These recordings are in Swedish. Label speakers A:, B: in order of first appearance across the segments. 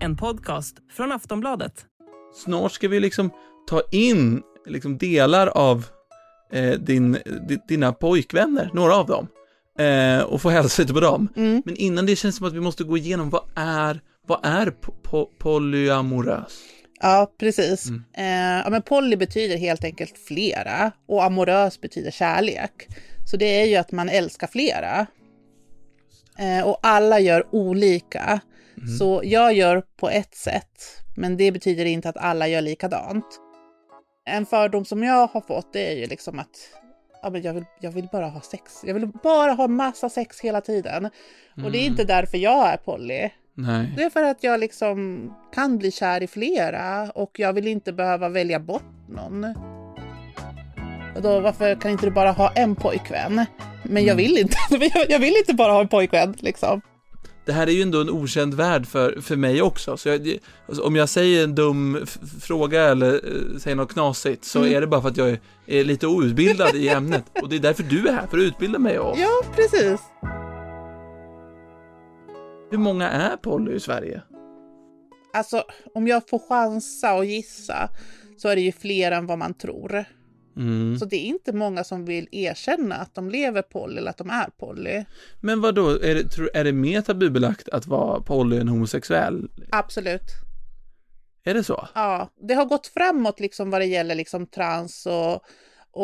A: En podcast från Aftonbladet.
B: Snart ska vi liksom ta in liksom delar av eh, din, di- dina pojkvänner, några av dem, eh, och få hälsa lite på dem.
C: Mm.
B: Men innan det känns som att vi måste gå igenom, vad är, vad är po- po- polyamorös?
C: Ja, precis. Eh, ja, men poly betyder helt enkelt flera och amorös betyder kärlek. Så det är ju att man älskar flera. Eh, och alla gör olika. Så jag gör på ett sätt, men det betyder inte att alla gör likadant. En fördom som jag har fått det är ju liksom att ja, men jag, vill, jag vill bara ha sex. Jag vill bara ha massa sex hela tiden. Och det är inte därför jag är poly.
B: Nej.
C: Det är för att jag liksom kan bli kär i flera och jag vill inte behöva välja bort någon. Och då, varför kan inte du bara ha en pojkvän? Men jag vill inte, jag vill inte bara ha en pojkvän liksom.
B: det här är ju ändå en okänd värld för, för mig också, så jag, det- alltså, om jag säger en dum f- fråga eller eh, säger något knasigt så
C: Mm.
B: är det bara för att jag är, är lite outbildad i ämnet och det är därför du är här, för att utbilda mig och
C: Ja, precis.
B: Hur många är poly i Sverige?
C: Alltså, om jag får chansa och gissa så är det ju fler än vad man tror.
B: Mm.
C: Så det är inte många som vill erkänna att de lever poly eller att de är poly.
B: Men vad då är det, tror, är det mer tabubelagt att vara poly än homosexuell?
C: Absolut.
B: Är det så?
C: Ja, det har gått framåt liksom vad det gäller liksom trans och,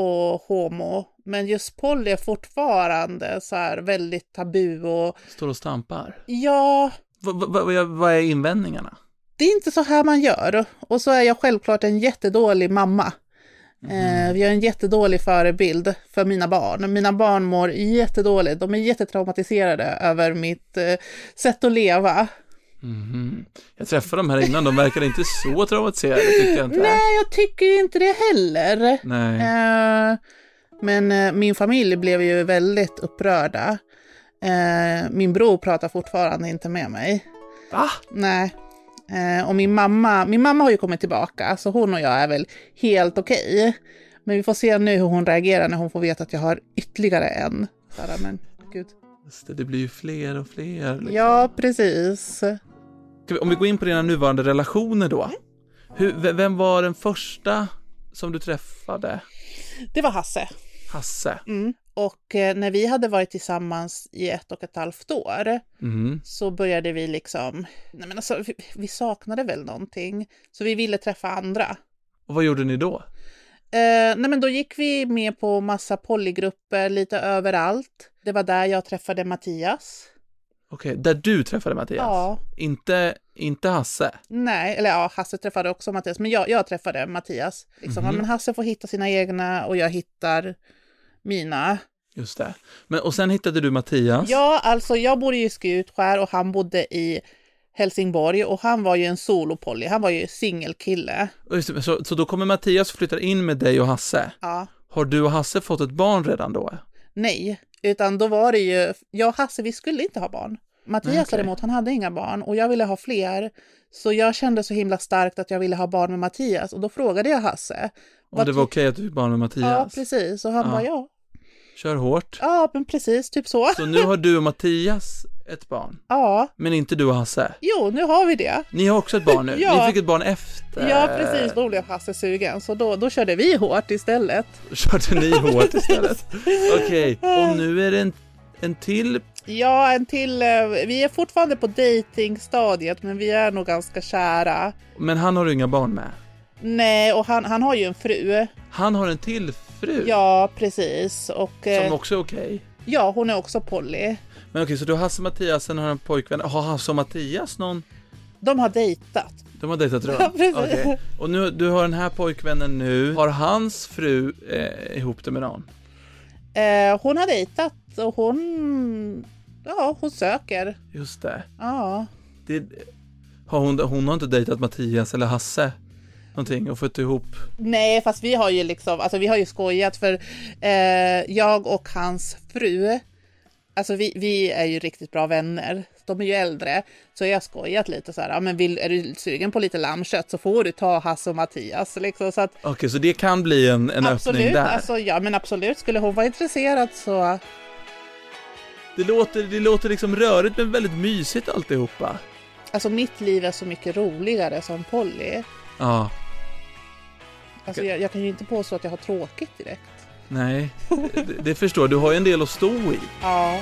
C: och homo. Men just poly är fortfarande så här väldigt tabu och
B: Står och stampar?
C: ja,
B: Vad va, va, vad är invändningarna?
C: det är inte så här man gör. Och så är jag självklart en jättedålig mamma. Eh, jag är en jättedålig förebild för mina barn. Mina barn mår jättedåligt. De är jättetraumatiserade över mitt eh, sätt att leva.
B: Mhm. Jag träffade dem här innan, de verkade inte så traumatiserade tyckte jag inte.
C: Nej, jag tycker inte det heller.
B: Nej.
C: Eh, men eh, min familj blev ju väldigt upprörda. Eh, min bror pratar fortfarande inte med mig.
B: Va?
C: Nej. Eh, och min mamma, min mamma har ju kommit tillbaka, så hon och jag är väl helt okej. Men vi får se nu hur hon reagerar när hon får veta att jag har ytterligare en. Så här, men, gud.
B: Just det, det blir ju fler och fler. liksom.
C: Ja, precis.
B: Ska vi- Om vi går in på dina nuvarande relationer då. Hur, v- vem var den första som du träffade?
C: Det var Hasse.
B: Hasse?
C: Mm. Och eh, när vi hade varit tillsammans i ett och ett halvt år,
B: Mm.
C: så började vi liksom, nej men alltså, vi, vi saknade väl någonting, så vi ville träffa andra.
B: Och vad gjorde ni då?
C: Eh, nej men då gick vi med på massa polygrupper lite överallt. Det var där jag träffade Mattias.
B: Okej, där du träffade Mattias?
C: Ja.
B: Inte, inte Hasse?
C: Nej, eller ja, Hasse träffade också Mattias, men jag, jag träffade Mattias. Liksom, ja, men Hasse får hitta sina egna och jag hittar mina.
B: Just det. Men, och sen hittade du Mattias?
C: Ja, alltså jag bodde ju i Skutskär och han bodde i Helsingborg och han var ju en solopolly, han var ju singelkille.
B: Och Just det, så, så då kommer Mattias och flyttar in med dig och Hasse?
C: Ja.
B: Har du och Hasse fått ett barn redan då?
C: Nej, utan då var det ju, jag och Hasse vi skulle inte ha barn. Mattias
B: Nej, okej.
C: däremot, han hade inga barn och jag ville ha fler. Så jag kände så himla starkt att jag ville ha barn med Mattias och då frågade jag Hasse.
B: Om det var okej att du fick barn med
C: Ja,
B: Mattias?
C: precis. Och han
B: Ja.
C: bara ja.
B: Kör hårt.
C: Ja, men precis, typ så.
B: Så nu har du och Mattias ett barn,
C: Ja,
B: men inte du och Hasse?
C: jo, nu har vi det.
B: Ni har också ett barn nu?
C: Ja.
B: Ni fick ett barn efter?
C: Ja, precis. Då blev Hasse sugen, så då, då körde vi hårt istället.
B: Körde ni hårt istället? Okej, och nu är det en, en till
C: Ja, en till. eh, Vi är fortfarande på datingstadiet, men vi är nog ganska kära.
B: Men han har du inga barn med?
C: Nej, och han, han har ju en fru.
B: Han har en till fru?
C: Ja, precis. Och, eh,
B: Som också är okej?
C: Ja, hon är också poly.
B: Men okej, så du har Hasse och Mattias, sen har han en pojkvän. Har Hasse och Mattias någon?
C: De har dejtat.
B: De har dejtat runt?
C: Ja, precis.
B: Okej. Och nu, du har den här pojkvännen nu. Har hans fru eh, ihop det med någon?
C: Eh, hon har dejtat och hon... Ja, hon söker.
B: Just det.
C: Ja.
B: det har hon, hon har inte dejtat Mattias eller Hasse? Någonting och fått ihop?
C: Nej, fast vi har ju liksom, alltså vi har ju skojat för eh, jag och hans fru, alltså vi, vi är ju riktigt bra vänner. De är ju äldre, så jag har skojat lite så här, ja men vill, är du sugen på lite lammkött så får du ta Hasse och Mattias liksom. Så att
B: Okej, så det kan bli en, en öppning
C: absolut,
B: där?
C: alltså ja men absolut, skulle hon vara intresserad så
B: Det låter, det låter liksom rörigt men väldigt mysigt alltihopa.
C: Alltså mitt liv är så mycket roligare som Polly.
B: Ja,
C: Alltså jag, jag kan ju inte påstå att jag har tråkigt direkt.
B: nej. Det, det förstår jag. Du har ju en del att stå i.
C: Ja.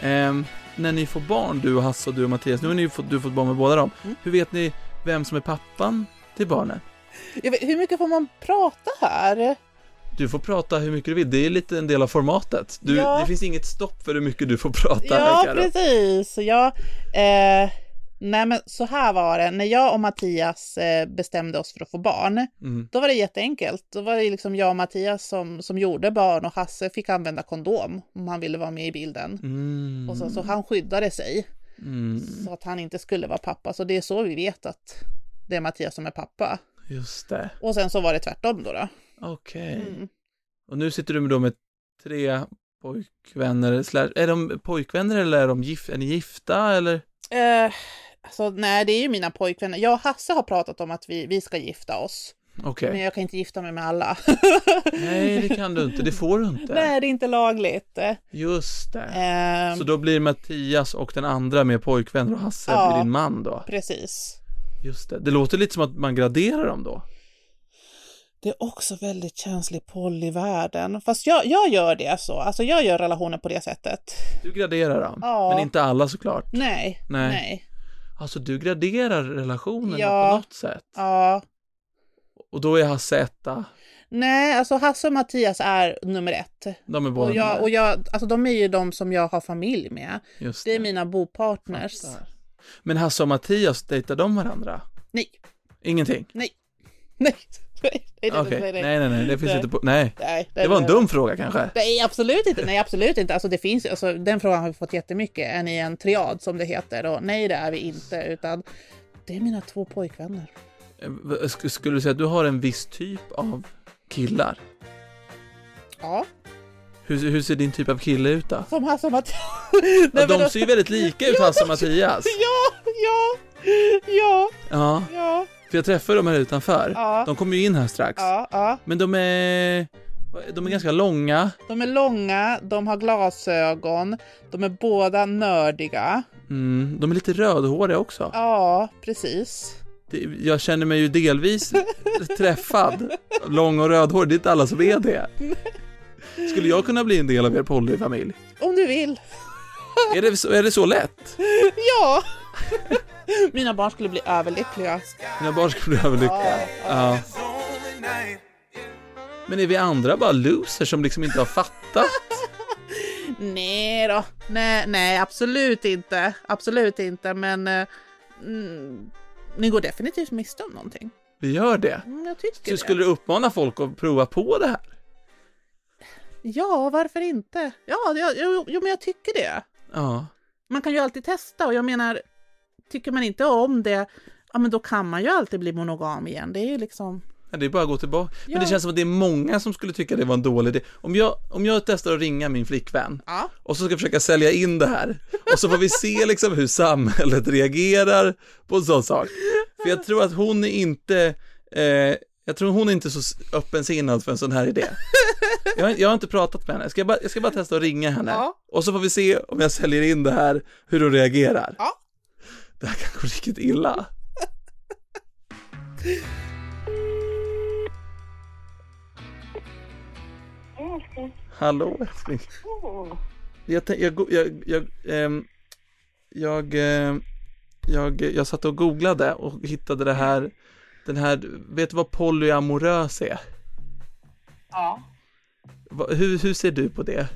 B: Ehm, när ni får barn, du och Hasse och du och Mattias, nu har ni fått, du fått barn med båda dem.
C: Mm.
B: Hur vet ni vem som är pappan till barnen?
C: Jag vet, hur mycket får man prata här?
B: Du får prata hur mycket du vill, det är lite en del av formatet. Du,
C: Ja.
B: Det finns inget stopp för hur mycket du får prata
C: Ja,
B: här, Karo.
C: precis. Ja, eh, nej, men så här var det. När jag och Mattias eh, bestämde oss för att få barn,
B: Mm.
C: då var det jätteenkelt. Då var det liksom jag och Mattias som, som gjorde barn och Hasse fick använda kondom om han ville vara med i bilden.
B: Mm.
C: Och så, så han skyddade sig
B: Mm.
C: så att han inte skulle vara pappa. Så det är så vi vet att det är Mattias som är pappa.
B: Just det,
C: Och sen så var det tvärtom då. då.
B: okej.
C: Mm.
B: Och nu sitter du med, då med tre pojkvänner, slash, är de pojkvänner eller är, de gif, är ni gifta eller?
C: Eh, alltså, nej, det är ju mina pojkvänner. Jag och Hasse har pratat om att vi, vi ska gifta oss.
B: Okej.
C: Men jag kan inte gifta mig med alla.
B: Nej, det kan du inte, det får du inte.
C: Nej, det är inte lagligt.
B: Just det.
C: Ehm,
B: Så då blir Mattias och den andra med pojkvänner och Hasse
C: Ja.
B: blir din man då?
C: Precis.
B: Just det. Det låter lite som att man graderar dem då.
C: Det är också väldigt känslig poll i världen. Fast jag, jag gör det så. Alltså jag gör relationer på det sättet.
B: Du graderar dem,
C: Ja.
B: men inte alla såklart.
C: Nej,
B: Nej.
C: nej.
B: Alltså du graderar relationerna
C: Ja.
B: på något sätt.
C: Ja.
B: Och då är Hasse etta.
C: Nej, alltså Hasse och Mattias är nummer ett.
B: De är båda
C: Och jag,
B: med.
C: och jag, alltså de är ju de som jag har familj med.
B: Just
C: Det är mina bopartners.
B: Fattar. Men Hasse och Mattias, dejtar de varandra?
C: Nej,
B: Ingenting?
C: nej, nej, nej, nej,
B: Okej,
C: nej, nej,
B: nej, nej, nej, det finns
C: Nej.
B: inte på... Nej,
C: nej, nej,
B: det var en
C: nej.
B: dum fråga kanske.
C: Nej, absolut inte. Nej, absolut inte. Alltså, det finns, alltså, den frågan har vi fått jättemycket. Är ni en triad som det heter? Och nej, det är vi inte, utan det är mina två pojkvänner.
B: Eh, v- sk- Skulle du säga att du har en viss typ av killar?
C: Ja,
B: Hur, hur ser din typ av kille ut då?
C: som Hasse och Mattias.
B: Ja, de ser ju väldigt lika ut, Hasse och Mattias.
C: alltså- Ja, ja, ja,
B: Ja,
C: ja,
B: för jag träffar dem här utanför.
C: Ja.
B: De kommer ju in här strax.
C: ja, ja.
B: Men de är... De är ganska långa.
C: De är långa, de har glasögon, de är båda nördiga.
B: Mm, de är lite rödhåriga också.
C: Ja, precis.
B: Det, jag känner mig ju delvis träffad. Lång och rödhårig, det är inte alla som är det. Skulle jag kunna bli en del av er polyfamilj?
C: Om du vill.
B: Är det, så- är det så lätt?
C: Ja! Mina barn skulle bli överlyckliga.
B: Mina barn skulle bli överlyckliga. Ja. Men är vi andra bara losers som liksom inte har fattat?
C: Nej då. Nej, nej, absolut inte. Absolut inte, men eh, mm, ni går definitivt miste om någonting.
B: Vi gör det.
C: Mm, jag tycker
B: Så
C: det.
B: skulle du uppmana folk att prova på det här?
C: Ja, varför inte? Ja, det- jo, jo, men jag tycker det.
B: Ja.
C: Man kan ju alltid testa och jag menar, tycker man inte om det, ja men då kan man ju alltid bli monogam igen. Det är ju liksom...
B: Ja, Det är bara att gå tillbaka. Men det
C: Ja.
B: känns som att det är många som skulle tycka det var en dålig idé. Om jag, om jag testar att ringa min flickvän
C: Ja.
B: och så ska jag försöka sälja in det här och så får vi se liksom hur samhället reagerar på en sån sak. För jag tror att hon är inte, eh, jag tror hon är inte så s- öppensinnad för en sån här idé. Jag har, jag har inte pratat med henne, jag ska bara, jag ska bara testa att ringa henne
C: Ja.
B: och så får vi se om jag säljer in det här, hur hon reagerar.
C: Ja.
B: Det här kan gå riktigt illa. Hallå älskling. Jag, tän- jag, go- jag, jag, ehm, jag, ehm, jag, jag satt och googlade och hittade det här, den här, vet du vad polyamorös är?
D: Ja,
B: Va- Hur, hur ser du på det?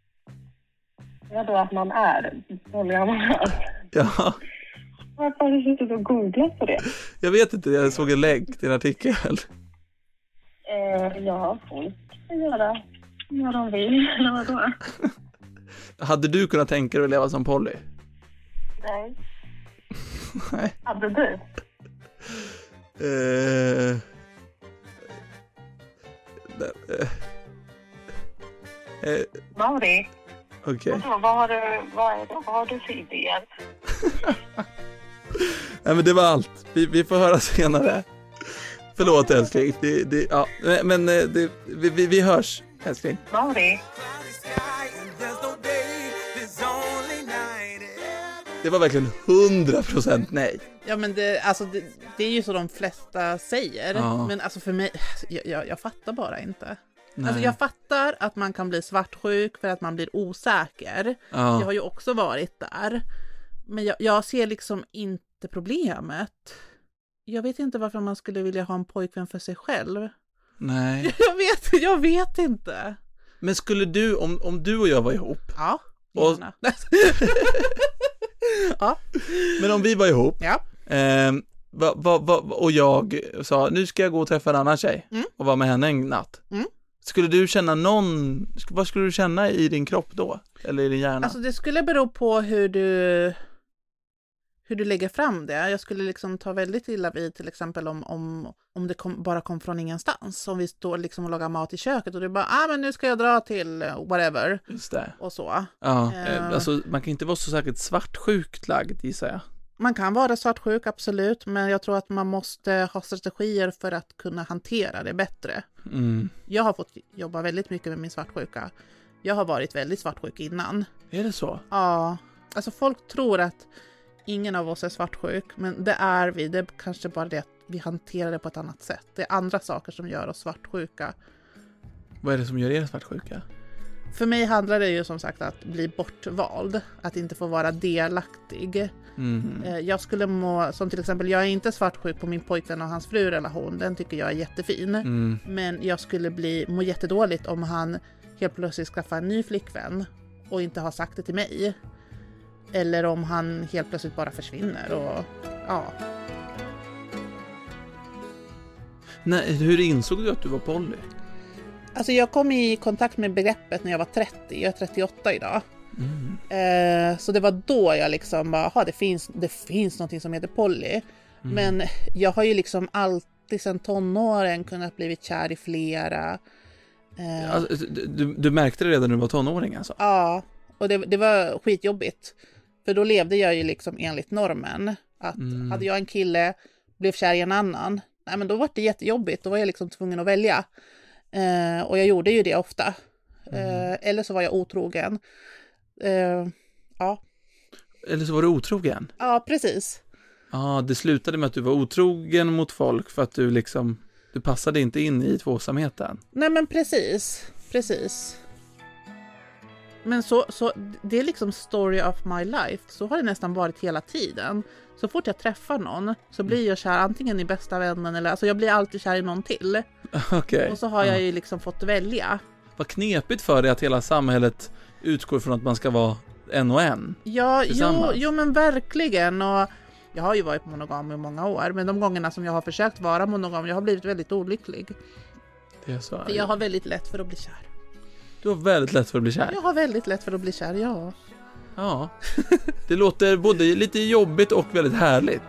D: vadå att man är polyamorös?
B: Ja,
D: Varför har du suttit och googlat på det?
B: jag vet inte, jag såg en länk till en artikel.
D: Eh, ja, folk kan göra vad de vill, eller vadå?
B: Hade du kunnat tänka dig att leva som poly?
D: Nej.
B: Nej.
D: Hade du?
B: Eh, eh,
D: Mauri,
B: Okej.
D: vadå, vad, har du, vad, är det, vad har du för idéer?
B: Nej men det var allt. Vi, vi får höra senare. Förlåt älskling. Det, det, ja. Nej, Men eh, det, vi, vi, vi hörs.
C: älskling.
D: Mari.
B: Det var verkligen 100% nej.
C: Ja men det, alltså, det, det är ju så de flesta säger.
B: Ja.
C: Men alltså för mig, jag, jag, jag fattar bara inte.
B: nej.
C: Alltså jag fattar att man kan bli svartsjuk för att man blir osäker. Jag har
B: ja.
C: ju också varit där. Men jag, jag ser liksom inte problemet. Jag vet inte varför man skulle vilja ha en pojkvän för sig själv.
B: Nej.
C: Jag vet, jag vet inte.
B: Men skulle du, om, om du och jag var ihop,
C: Ja,
B: Och-
C: gärna. ja,
B: men om vi var ihop,
C: ja.
B: Ehm, va, va, va, och jag sa, nu ska jag gå och träffa en annan tjej
C: Mm.
B: och vara med henne en natt.
C: Mm.
B: Skulle du känna någon, sk- vad skulle du känna i din kropp då? Eller i din hjärna?
C: Alltså det skulle bero på hur du hur du lägger fram det. Jag skulle liksom ta väldigt illa vid till exempel om, om, om det kom, bara kom från ingenstans. Om vi står liksom och lagar mat i köket och du bara, ah men nu ska jag dra till eh, whatever
B: Just det.
C: och så.
B: Ja,
C: Eh.
B: eh, alltså man kan inte vara så säkert svartsjukt lagd gissar jag.
C: Man kan vara svartsjuk, absolut, men jag tror att man måste ha strategier för att kunna hantera det bättre.
B: Mm.
C: Jag har fått jobba väldigt mycket med min svartsjuka. Jag har varit väldigt svartsjuk innan.
B: Är det så?
C: Ja, alltså folk tror att ingen av oss är svartsjuk, men det är vi. Det är kanske bara det att vi hanterar det på ett annat sätt. Det är andra saker som gör oss svartsjuka.
B: Vad är det som gör er svartsjuka?
C: För mig handlar det ju som sagt att bli bortvald, att inte få vara delaktig.
B: Mm.
C: Eh, Jag skulle må, som till exempel, jag är inte svartsjuk på min pojkvän och hans fru relation, den tycker jag är jättefin.
B: Mm.
C: Men jag skulle bli, må jättedåligt om han helt plötsligt skaffar en ny flickvän och inte har sagt det till mig. Eller om han helt plötsligt bara försvinner och ja.
B: Nej, hur insåg du att du var poly?
C: Alltså jag kom i kontakt med begreppet när jag var 30, jag är 38 idag. Eh, så det var då jag liksom bara, "Jaha, det finns, det finns någonting som heter poly. Men jag har ju liksom alltid sedan tonåren kunnat blivit kär i flera. Eh,
B: Alltså, du- du, du märkte det redan när du var tonåring alltså?
C: Ja, och det, det var skitjobbigt. För då levde jag ju liksom enligt normen. Att
B: Mm.
C: hade jag en kille, blev kär i en annan, nej men då var det jättejobbigt. Då var jag liksom tvungen att välja. Eh, och jag gjorde ju det ofta. Eh, eller så var jag otrogen. Eh, ja.
B: Eller så var du otrogen?
C: ja, precis.
B: Ja, det slutade med att du var otrogen mot folk för att du liksom, du passade inte in i tvåsamheten.
C: Nej men precis, precis. Men så, så det är liksom story of my life. Så har det nästan varit hela tiden. Så fort jag träffar någon så blir jag kär antingen i bästa vännen eller alltså jag blir alltid kär i någon till.
B: Okej.
C: Och så har jag
B: Ja.
C: ju liksom fått välja.
B: Vad knepigt för dig att hela samhället utgår från att man ska vara en och en.
C: Ja, jo,
B: Tillsammans.
C: jo men verkligen. Och jag har ju varit monogam i många år men de gångerna som jag har försökt vara monogam jag har blivit väldigt olycklig.
B: Det är så.
C: För jag har väldigt lätt för att bli kär.
B: Du har väldigt lätt för att bli kär.
C: Jag har väldigt lätt för att bli kär, ja.
B: Ja. Det låter både lite jobbigt och väldigt härligt.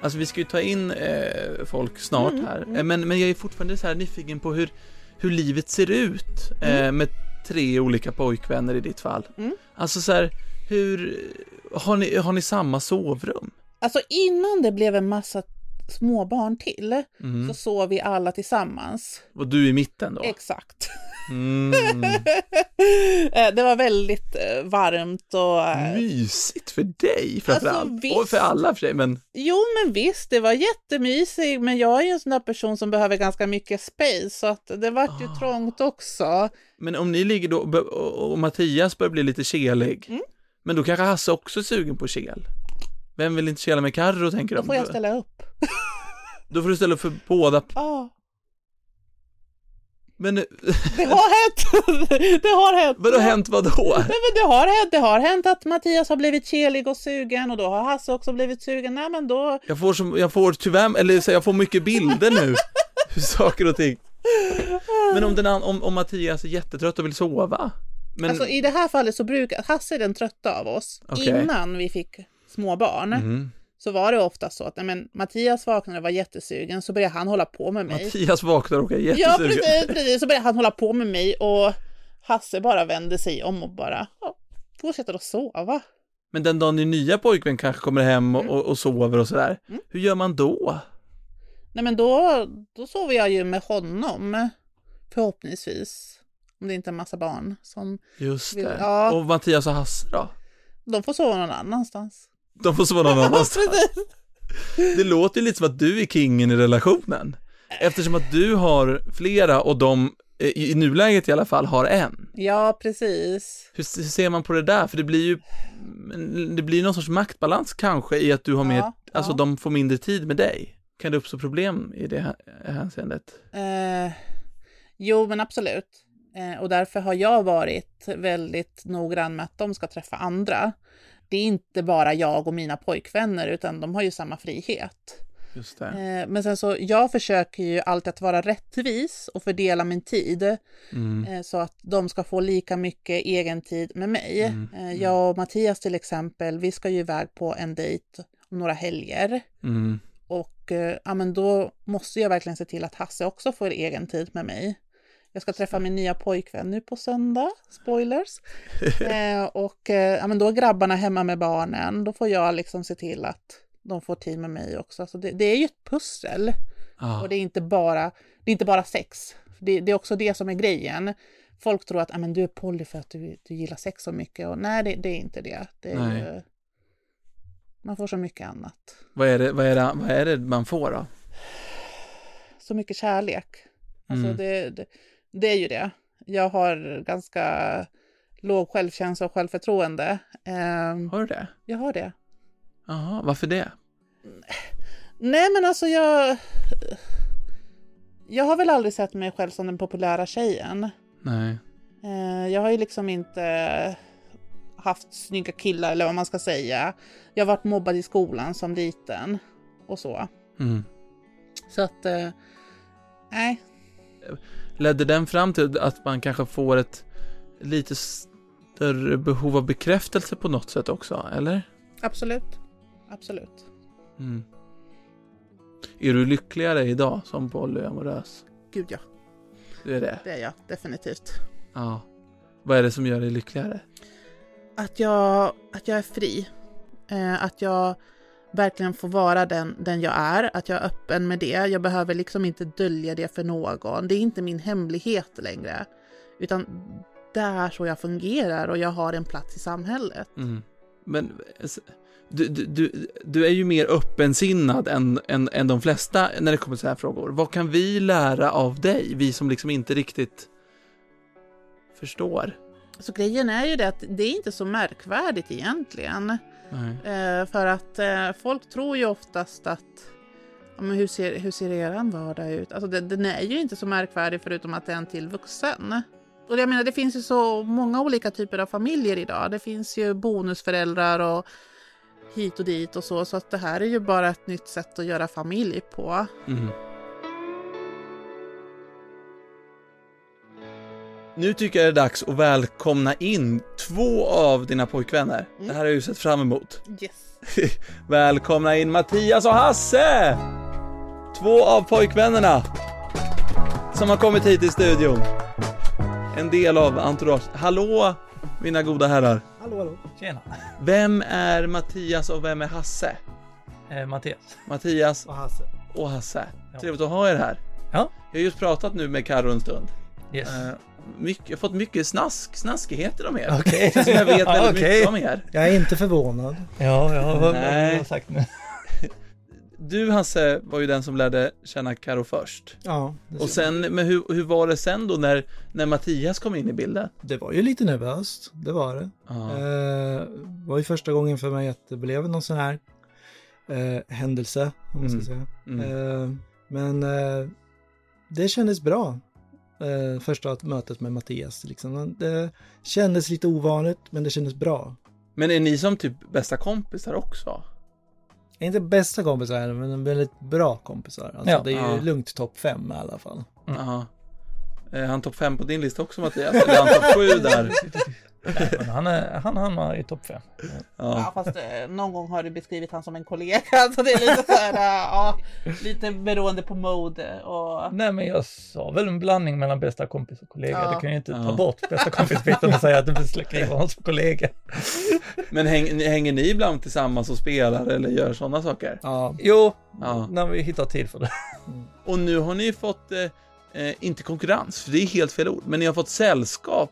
B: Alltså vi ska ju ta in eh, folk snart
C: Mm,
B: här. Eh, Men, men jag är fortfarande så här nyfiken på hur, hur livet ser ut eh, med tre olika pojkvänner i ditt fall.
C: Mm.
B: Alltså så här, hur har ni, har ni samma sovrum?
C: Alltså innan det blev en massa småbarn till
B: Mm.
C: så sov vi alla tillsammans.
B: Och du i mitten då?
C: Exakt.
B: Mm.
C: Eh, det var väldigt eh, varmt och... eh,
B: Mm. Mysigt för dig framförallt.
C: Alltså, visst.
B: och för alla för sig men
C: Jo men visst, det var jättemysigt men jag är ju en sån där person som behöver ganska mycket space så att det vart ju
B: Ah.
C: trångt också.
B: Men om ni ligger då bör- och och Mattias börjar bli lite kelig,
C: Mm.
B: men då kanske Hasse också är sugen på kel? Vem vill inte kela med Carro tänker
C: Då
B: de?
C: får jag ställa upp.
B: Då får du ställa upp för båda.
C: Ja,
B: Men eh,
C: det har hänt! det har hänt!
B: vad har hänt vadå?
C: Nej, men det har hänt, det har hänt att Mattias har blivit kelig och sugen och då har Hasse också blivit sugen. Nej men då,
B: Jag får, som, jag får tyvärr, eller så jag får mycket bilder nu. Hur saker och ting. Men om, den, an- om, om Mattias är jättetrött och vill sova? Men,
C: Alltså i det här fallet så brukar, Hasse är den trötta av oss.
B: Okej.
C: Innan vi fick småbarn
B: mm.
C: så var det ofta så att nej, men, Mattias vaknade och var jättesugen så började han hålla på med mig.
B: Mattias vaknar och är
C: ja
B: jättesugen.
C: precis, precis, så började han hålla på med mig och Hasse bara vände sig om och bara ja, fortsätter att sova.
B: Men den
C: Mm.
B: dagen din nya pojkvän kanske kommer hem och, och, och sover och sådär, hur gör man då?
C: Nej men då, då sover jag ju med honom. Förhoppningsvis. Om det inte är en massa barn som...
B: Just
C: Vill-
B: det.
C: ja.
B: Och Mattias och Hasse då?
C: De får sova någon annanstans.
B: De får sova någon annanstans. Det låter ju lite som att du är kingen i relationen. Eftersom att du har flera och de, eh, i i nuläget i alla fall, har en.
C: Ja, precis.
B: Hur, s- hur ser man på det där? För det blir ju, det blir någon sorts maktbalans kanske i att du har mer,
C: Ja,
B: alltså
C: ja.
B: de får mindre tid med dig. Kan det uppstå problem i det här hänseendet?
C: Eh, jo, men absolut. Eh, och därför har jag varit väldigt noggrann med att de ska träffa andra. Det är inte bara jag och mina pojkvänner, utan de har ju samma frihet.
B: Just det.
C: Eh, men sen så, jag försöker ju alltid att vara rättvis och fördela min tid.
B: Mm.
C: Eh, så att de ska få lika mycket egen tid med mig.
B: Mm,
C: Eh, Jag och Mattias till exempel, vi ska ju iväg på en dejt om några helger.
B: Mm.
C: Och eh, ja, men då måste jag verkligen se till att Hasse också får egen tid med mig. Jag ska träffa min nya pojkvän nu på söndag, spoilers. Eh, och eh, ja, men då är grabbarna hemma med barnen, då får jag liksom se till att de får tid med mig också. Så det, det är ju ett pussel.
B: Ja.
C: Och det är inte bara, det är inte bara sex. Det, det är också det som är grejen. Folk tror att ah, men du är poly för att du, du gillar sex så mycket. Och nej, det, det är inte det. det är
B: Nej.
C: ju, man får så mycket annat.
B: Vad, är det, vad, är det, vad är det man får då?
C: Så mycket kärlek. Alltså
B: Mm.
C: det, det, det är ju det. Jag har ganska låg självkänsla och självförtroende. Ehm,
B: Har du det?
C: jag har det.
B: Jaha, varför det?
C: Nej, men alltså jag... Jag har väl aldrig sett mig själv som den populära tjejen.
B: Nej.
C: Eh, Jag har ju liksom inte haft snygga killar eller vad man ska säga. Jag har varit mobbad i skolan som liten och så.
B: Mm.
C: Så att, eh, nej,
B: Ledde den fram till att man kanske får ett lite större behov av bekräftelse på något sätt också, eller?
C: absolut. Absolut.
B: Mm. Är du lyckligare idag som polyamorös?
C: Gud ja,
B: Du är det?
C: det är jag definitivt.
B: Ja. Vad är det som gör dig lyckligare?
C: Att jag, att jag är fri. Eh, Att jag verkligen får vara den, den jag är. Att jag är öppen med det. Jag behöver liksom inte dölja det för någon. Det är inte min hemlighet längre. Utan det är så jag fungerar och jag har en plats i samhället.
B: Mm. Men s- du, du, du, du är ju mer öppensinnad än, än, än de flesta när det kommer till så här frågor. Vad kan vi lära av dig, vi som liksom inte riktigt förstår?
C: Så grejen är ju det att det är inte så märkvärdigt egentligen.
B: Nej.
C: Eh, för att eh, folk tror ju oftast att ja, men hur ser, hur ser eran vardag ut? Alltså det, den är ju inte så märkvärdig förutom att det är en till vuxen. Och jag menar det finns ju så många olika typer av familjer idag. Det finns ju bonusföräldrar och hit och dit och så. Så att det här är ju bara ett nytt sätt att göra familj på.
B: Mm. Nu tycker jag det är dags att välkomna in två av dina pojkvänner.
E: Mm.
B: Det här har jag ju sett fram emot.
C: Yes.
B: Välkomna in Mattias och Hasse! Två av pojkvännerna som har kommit hit till studion. En del av Entourage. Hallå mina goda herrar.
E: Hallå, hallå. Tjena.
B: Vem är Mattias och vem är Hasse?
E: Eh, Mattias.
B: Mattias
E: Och Hasse.
B: och Hasse.
E: Ja.
B: Trevligt att ha er här.
E: Ja.
B: Jag har just pratat nu med Karo en stund.
E: Yes.
B: Eh, mycket, jag har fått mycket snask, snaskigheter om er.
E: Okej.
B: Som jag vet väldigt
E: Okej.
B: mycket om er.
F: Jag är inte förvånad.
E: Ja, ja, vad vad
B: Nej.
E: har du sagt nu?
B: Du Hasse var ju den som lärde känna Karo först.
F: Ja, det,
B: Och sen, men hur, hur var det sen då när, när Mattias kom in i bilden?
F: det var ju lite nervöst, det var det.
B: Ja.
F: Eh, Det var ju första gången för mig att det blev någon sån här eh, händelse, om man ska
B: Mm.
F: säga.
B: Mm.
F: Eh, men eh, det kändes bra. Eh, första mötet med Mattias, liksom. Det kändes lite ovanligt, men det kändes bra.
B: Men är ni som typ bästa kompisar också?
F: Inte bästa kompisar, men väldigt bra kompisar. Alltså,
E: Ja.
F: det är ju
B: Ja.
E: Mm.
F: lugnt topp fem i alla fall.
B: Ja. Eh, han topp fem på din lista också Mattias, eller han topp sju där.
E: Nej, men han, är, han hamnar i topp fem.
C: Ja,
B: Ja.
C: fast eh, någon gång har du beskrivit han som en kollega. Så det är lite så här, eh, ja, lite beroende på mode. Och...
E: Nej, men jag sa väl en blandning mellan bästa kompis och kollega.
C: Ja.
E: Du kan ju inte
B: Ja.
E: ta bort bästa kompis-biten och säga att du beskriver honom som kollega.
B: Men häng, hänger ni ibland tillsammans och spelar eller gör sådana saker?
F: Ja,
E: Jo,
B: Ja.
E: när vi hittar tid för det.
B: Och nu har ni ju fått, eh, eh, inte konkurrens, för det är helt fel ord, men ni har fått sällskap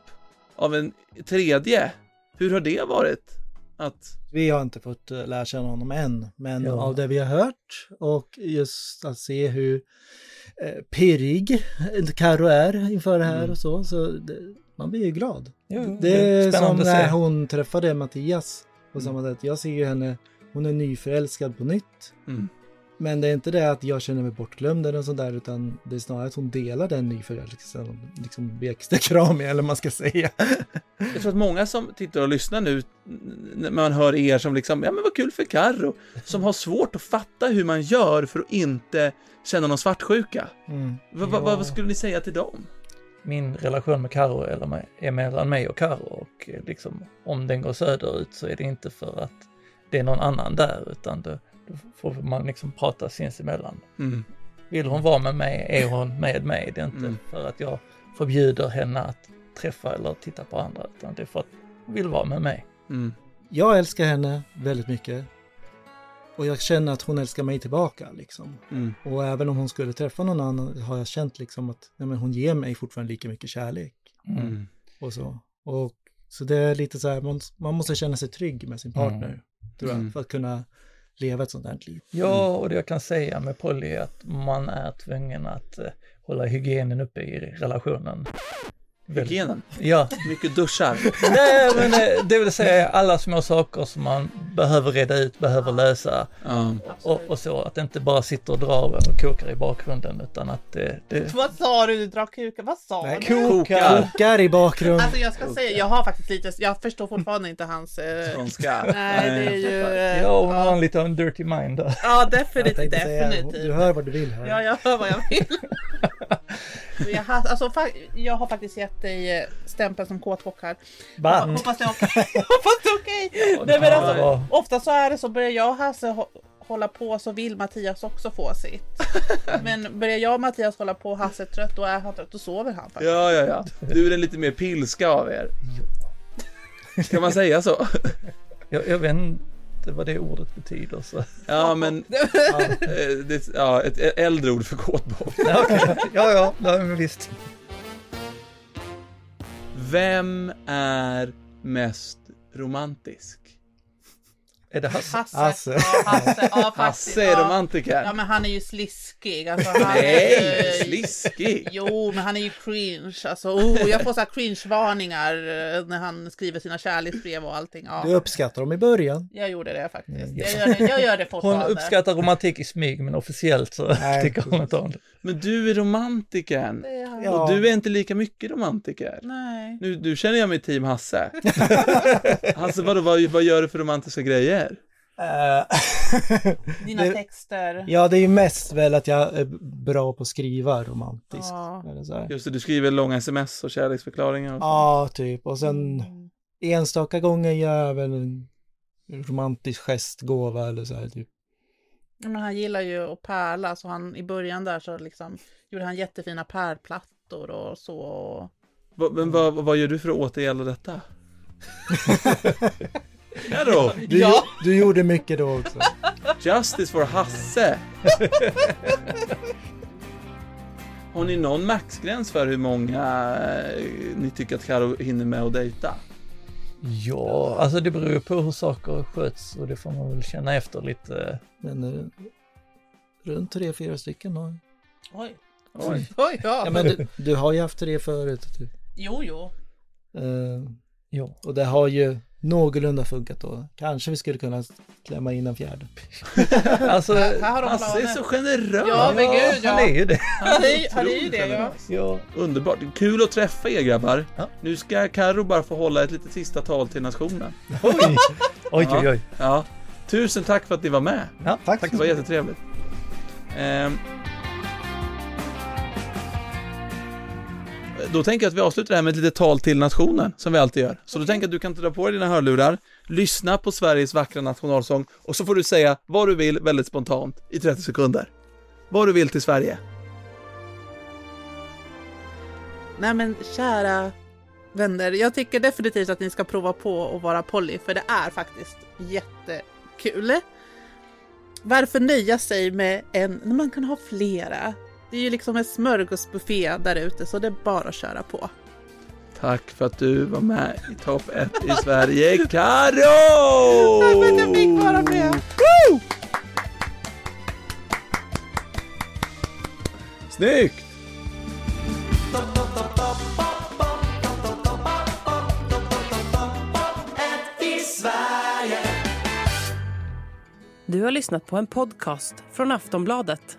B: av en tredje. Hur har det varit? Att,
F: vi har inte fått eh, lära känna honom än, men
E: Ja.
F: av det vi har hört och just att se hur eh, pirrig Carro är inför det här
B: Mm.
F: och så, så det, man blir ju glad.
E: Jo,
F: Det är som
E: Mm. spännande att se. Mm.
F: när hon träffade Mattias på samma sätt. Jag ser ju henne, hon är nyförälskad på nytt.
B: mm,
F: Men det är inte det att jag känner mig bortglömd eller sånt där utan det är snarare att hon delar den nyförälskelsen och liksom blir extra kramig eller vad man ska säga.
B: jag tror att många som tittar och lyssnar nu, n- när man hör er som liksom, ja men vad kul för Karo som har svårt att fatta hur man gör för att inte känna någon svartsjuka.
F: Mm.
B: Va, va, va,
E: Ja.
B: vad skulle ni säga till dem?
E: Min relation med Karo eller med, är mellan mig och Karo och eh, liksom om den går söderut så är det inte för att det är någon annan där utan då, då får man liksom prata sinsemellan.
B: Mm,
E: Vill hon vara med mig är hon med mig. Det är inte
B: Mm.
E: för att jag förbjuder henne att träffa eller titta på andra utan det är för att hon vill vara med mig.
B: mm,
F: Jag älskar henne väldigt mycket. Och jag känner att hon älskar mig tillbaka liksom.
B: mm,
F: Och även om hon skulle träffa någon annan har jag känt liksom att nej, men hon ger mig fortfarande lika mycket kärlek.
E: Mm.
B: mm.
F: och så. Och, så det är lite så här, man, man måste känna sig trygg med sin partner, tror jag,
B: Mm.
F: för att kunna leva ett sånt här liv.
E: Ja, och det jag kan säga med Polly är att man är tvungen att eh, hålla hygienen uppe i relationen. Väl-
B: Hygienen,
E: Ja,
B: mycket duschar.
E: Nej, men eh, det vill säga alla små saker som man behöver reda ut, behöver lösa
B: Ja.
E: och, och så. Att det inte bara sitter och drar och kokar i bakgrunden utan att det... det
C: Vad sa du? Du drar kuken. Vad sa
F: Nej,
C: du?
B: Kokar.
F: Kokar i bakgrunden.
C: Alltså jag ska säga, jag har faktiskt lite, jag förstår fortfarande inte hans... Eh,
B: Skånska.
C: nej, det är ju... Eh,
E: ja, hon har
C: ja,
E: en liten dirty mind där.
C: ja,
F: Jag
C: definitivt,
F: tänkte säga, du
C: definitivt.
F: hör vad du vill här.
C: Ja, jag hör vad jag vill. Men jag, har, alltså, fa- jag har faktiskt gett dig eh, stämpeln som kåtbock här.
E: Va?
C: Hoppas det är okej. Hoppas det är okej. Nej, men alltså,
E: Ja,
C: Ofta så är det så, börjar jag och Hasse hå- hålla på så vill Mattias också få sitt. Men börjar jag och Mattias hålla på och Hasse är trött, då är han trött, då sover han faktiskt.
B: Ja, ja, ja. Du är den lite mer pilska av er. Kan man säga så?
E: jag, jag vet inte vad det ordet betyder. Så.
B: Ja, men... eh, Det, ja, ett äldre ord för kåtbock.
E: Ja, okej. ja, ja, nej, men visst.
B: Vem är mest romantisk?
E: Är det Hasse?
C: Hasse,
F: Hasse.
C: Ja, Hasse, ja, faktiskt,
B: Hasse är
C: ja.
B: romantiker.
C: Ja men han är ju sliskig. Alltså, han är
B: Nej,
C: ju,
B: sliskig!
C: Jo men han är ju cringe. Alltså, oh, jag får så här cringe-varningar eh, när han skriver sina kärleksbrev och allting.
F: Du
C: Ja,
F: uppskattar dem i början.
C: jag gjorde det faktiskt. Jag gör det, jag gör det
E: Hon
C: fortfarande.
E: uppskattar romantik i smyg men officiellt så
F: Nej,
E: tycker hon inte om det.
B: Men du är romantikern.
C: Det är han.
F: Ja.
B: Och du är inte lika mycket romantiker.
C: Nej.
B: Nu, nu känner jag mig team Hasse. Hasse, vadå, vad, vad gör du för romantiska grejer?
C: Dina
F: Det-
C: texter.
F: ja, det är ju mest väl att jag är bra på att skriva romantiskt.
C: Ja.
F: Eller så här.
B: Just det, du skriver långa sms och kärleksförklaringar. Och så.
F: Ja, typ. Och sen enstaka gånger gör jag väl en romantisk gestgåva eller så här. Typ.
C: Ja, Men han gillar ju att pärla så han i början där så liksom gjorde han jättefina pärlplattor och så. Och...
B: Va- Men vad, vad gör du för att återgälda detta? ja då,
F: Du,
C: Ja.
F: gjo- du gjorde mycket då också.
B: Justice for Hasse! Har ni någon maxgräns för hur många eh, ni tycker att Karo hinner med att dejta?
E: Ja, alltså det beror ju på hur saker sköts och det får man väl känna efter lite.
F: Men eh, runt tre, fyra stycken har jag.
C: Oj.
B: Oj.
C: Oj, ja.
F: Ja, men du, du har ju haft tre förut. Du.
C: Jo, jo.
F: Eh,
E: Ja.
F: och det har ju någorlunda funkat då. Kanske vi skulle kunna klämma in en fjärde.
E: Alltså,
C: Här, här har de
B: Eh, Hasse är
C: planer.
B: så generös!
C: Ja, men gud, ja.
E: han är ju det.
C: Han är ju- han är ju det, ja.
B: Otroligt
E: Ja,
B: Underbart, kul att träffa er grabbar!
E: Ja.
B: Nu ska Karo bara få hålla ett litet sista tal till nationen.
E: oj, oj, oj. oj.
B: Ja. Tusen tack för att ni var med!
E: Ja,
F: Tack.
B: Det var jättetrevligt. Ehm, då tänker jag att vi avslutar det här med ett litet tal till nationen, som vi alltid gör. Så då tänker jag att du kan dra på dig dina hörlurar, lyssna på Sveriges vackra nationalsång och så får du säga vad du vill väldigt spontant i 30 sekunder. Vad du vill till Sverige.
C: Nej men kära vänner, jag tycker definitivt att ni ska prova på att vara Polly för det är faktiskt jättekul. Varför nöja sig med en, när man kan ha flera? Det är ju liksom en smörgåsbuffé där ute så det är bara att köra på.
B: Tack för att du var med i topp 1 i Sverige, Karo!
C: Tack för att jag fick vara med!
B: Woo! Snyggt!
A: Du har lyssnat på en podcast från Aftonbladet.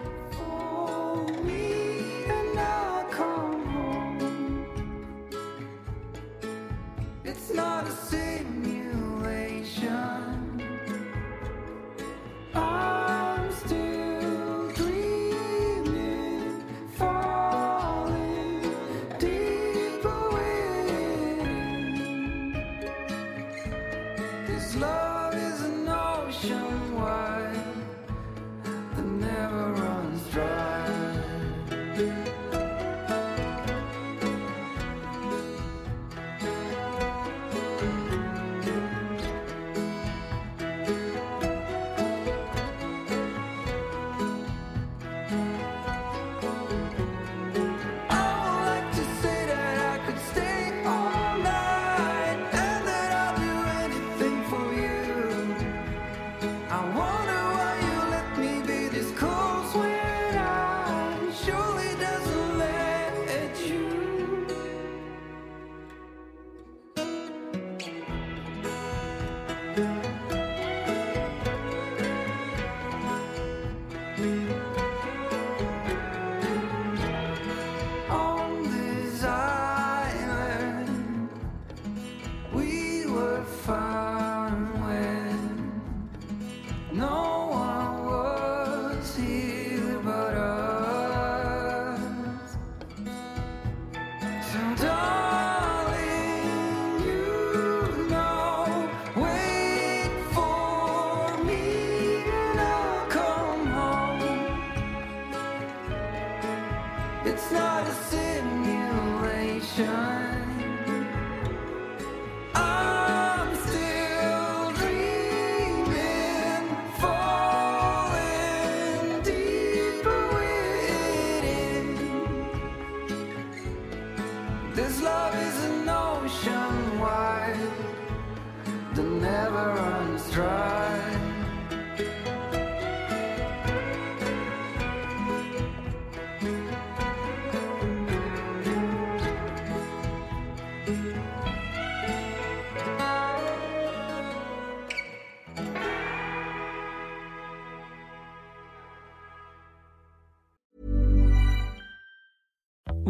G: It's not a simulation. I'm still dreaming, falling deeper in. This love is an ocean wide that never runs dry. I wonder why you let me be this close when I surely doesn't let you. on this island we were found when no one was here but us. So darling, you know, wait for me and I'll come home. It's not a simulation. I'm still dreaming, falling deeper within. This love is an ocean wide that never runs dry.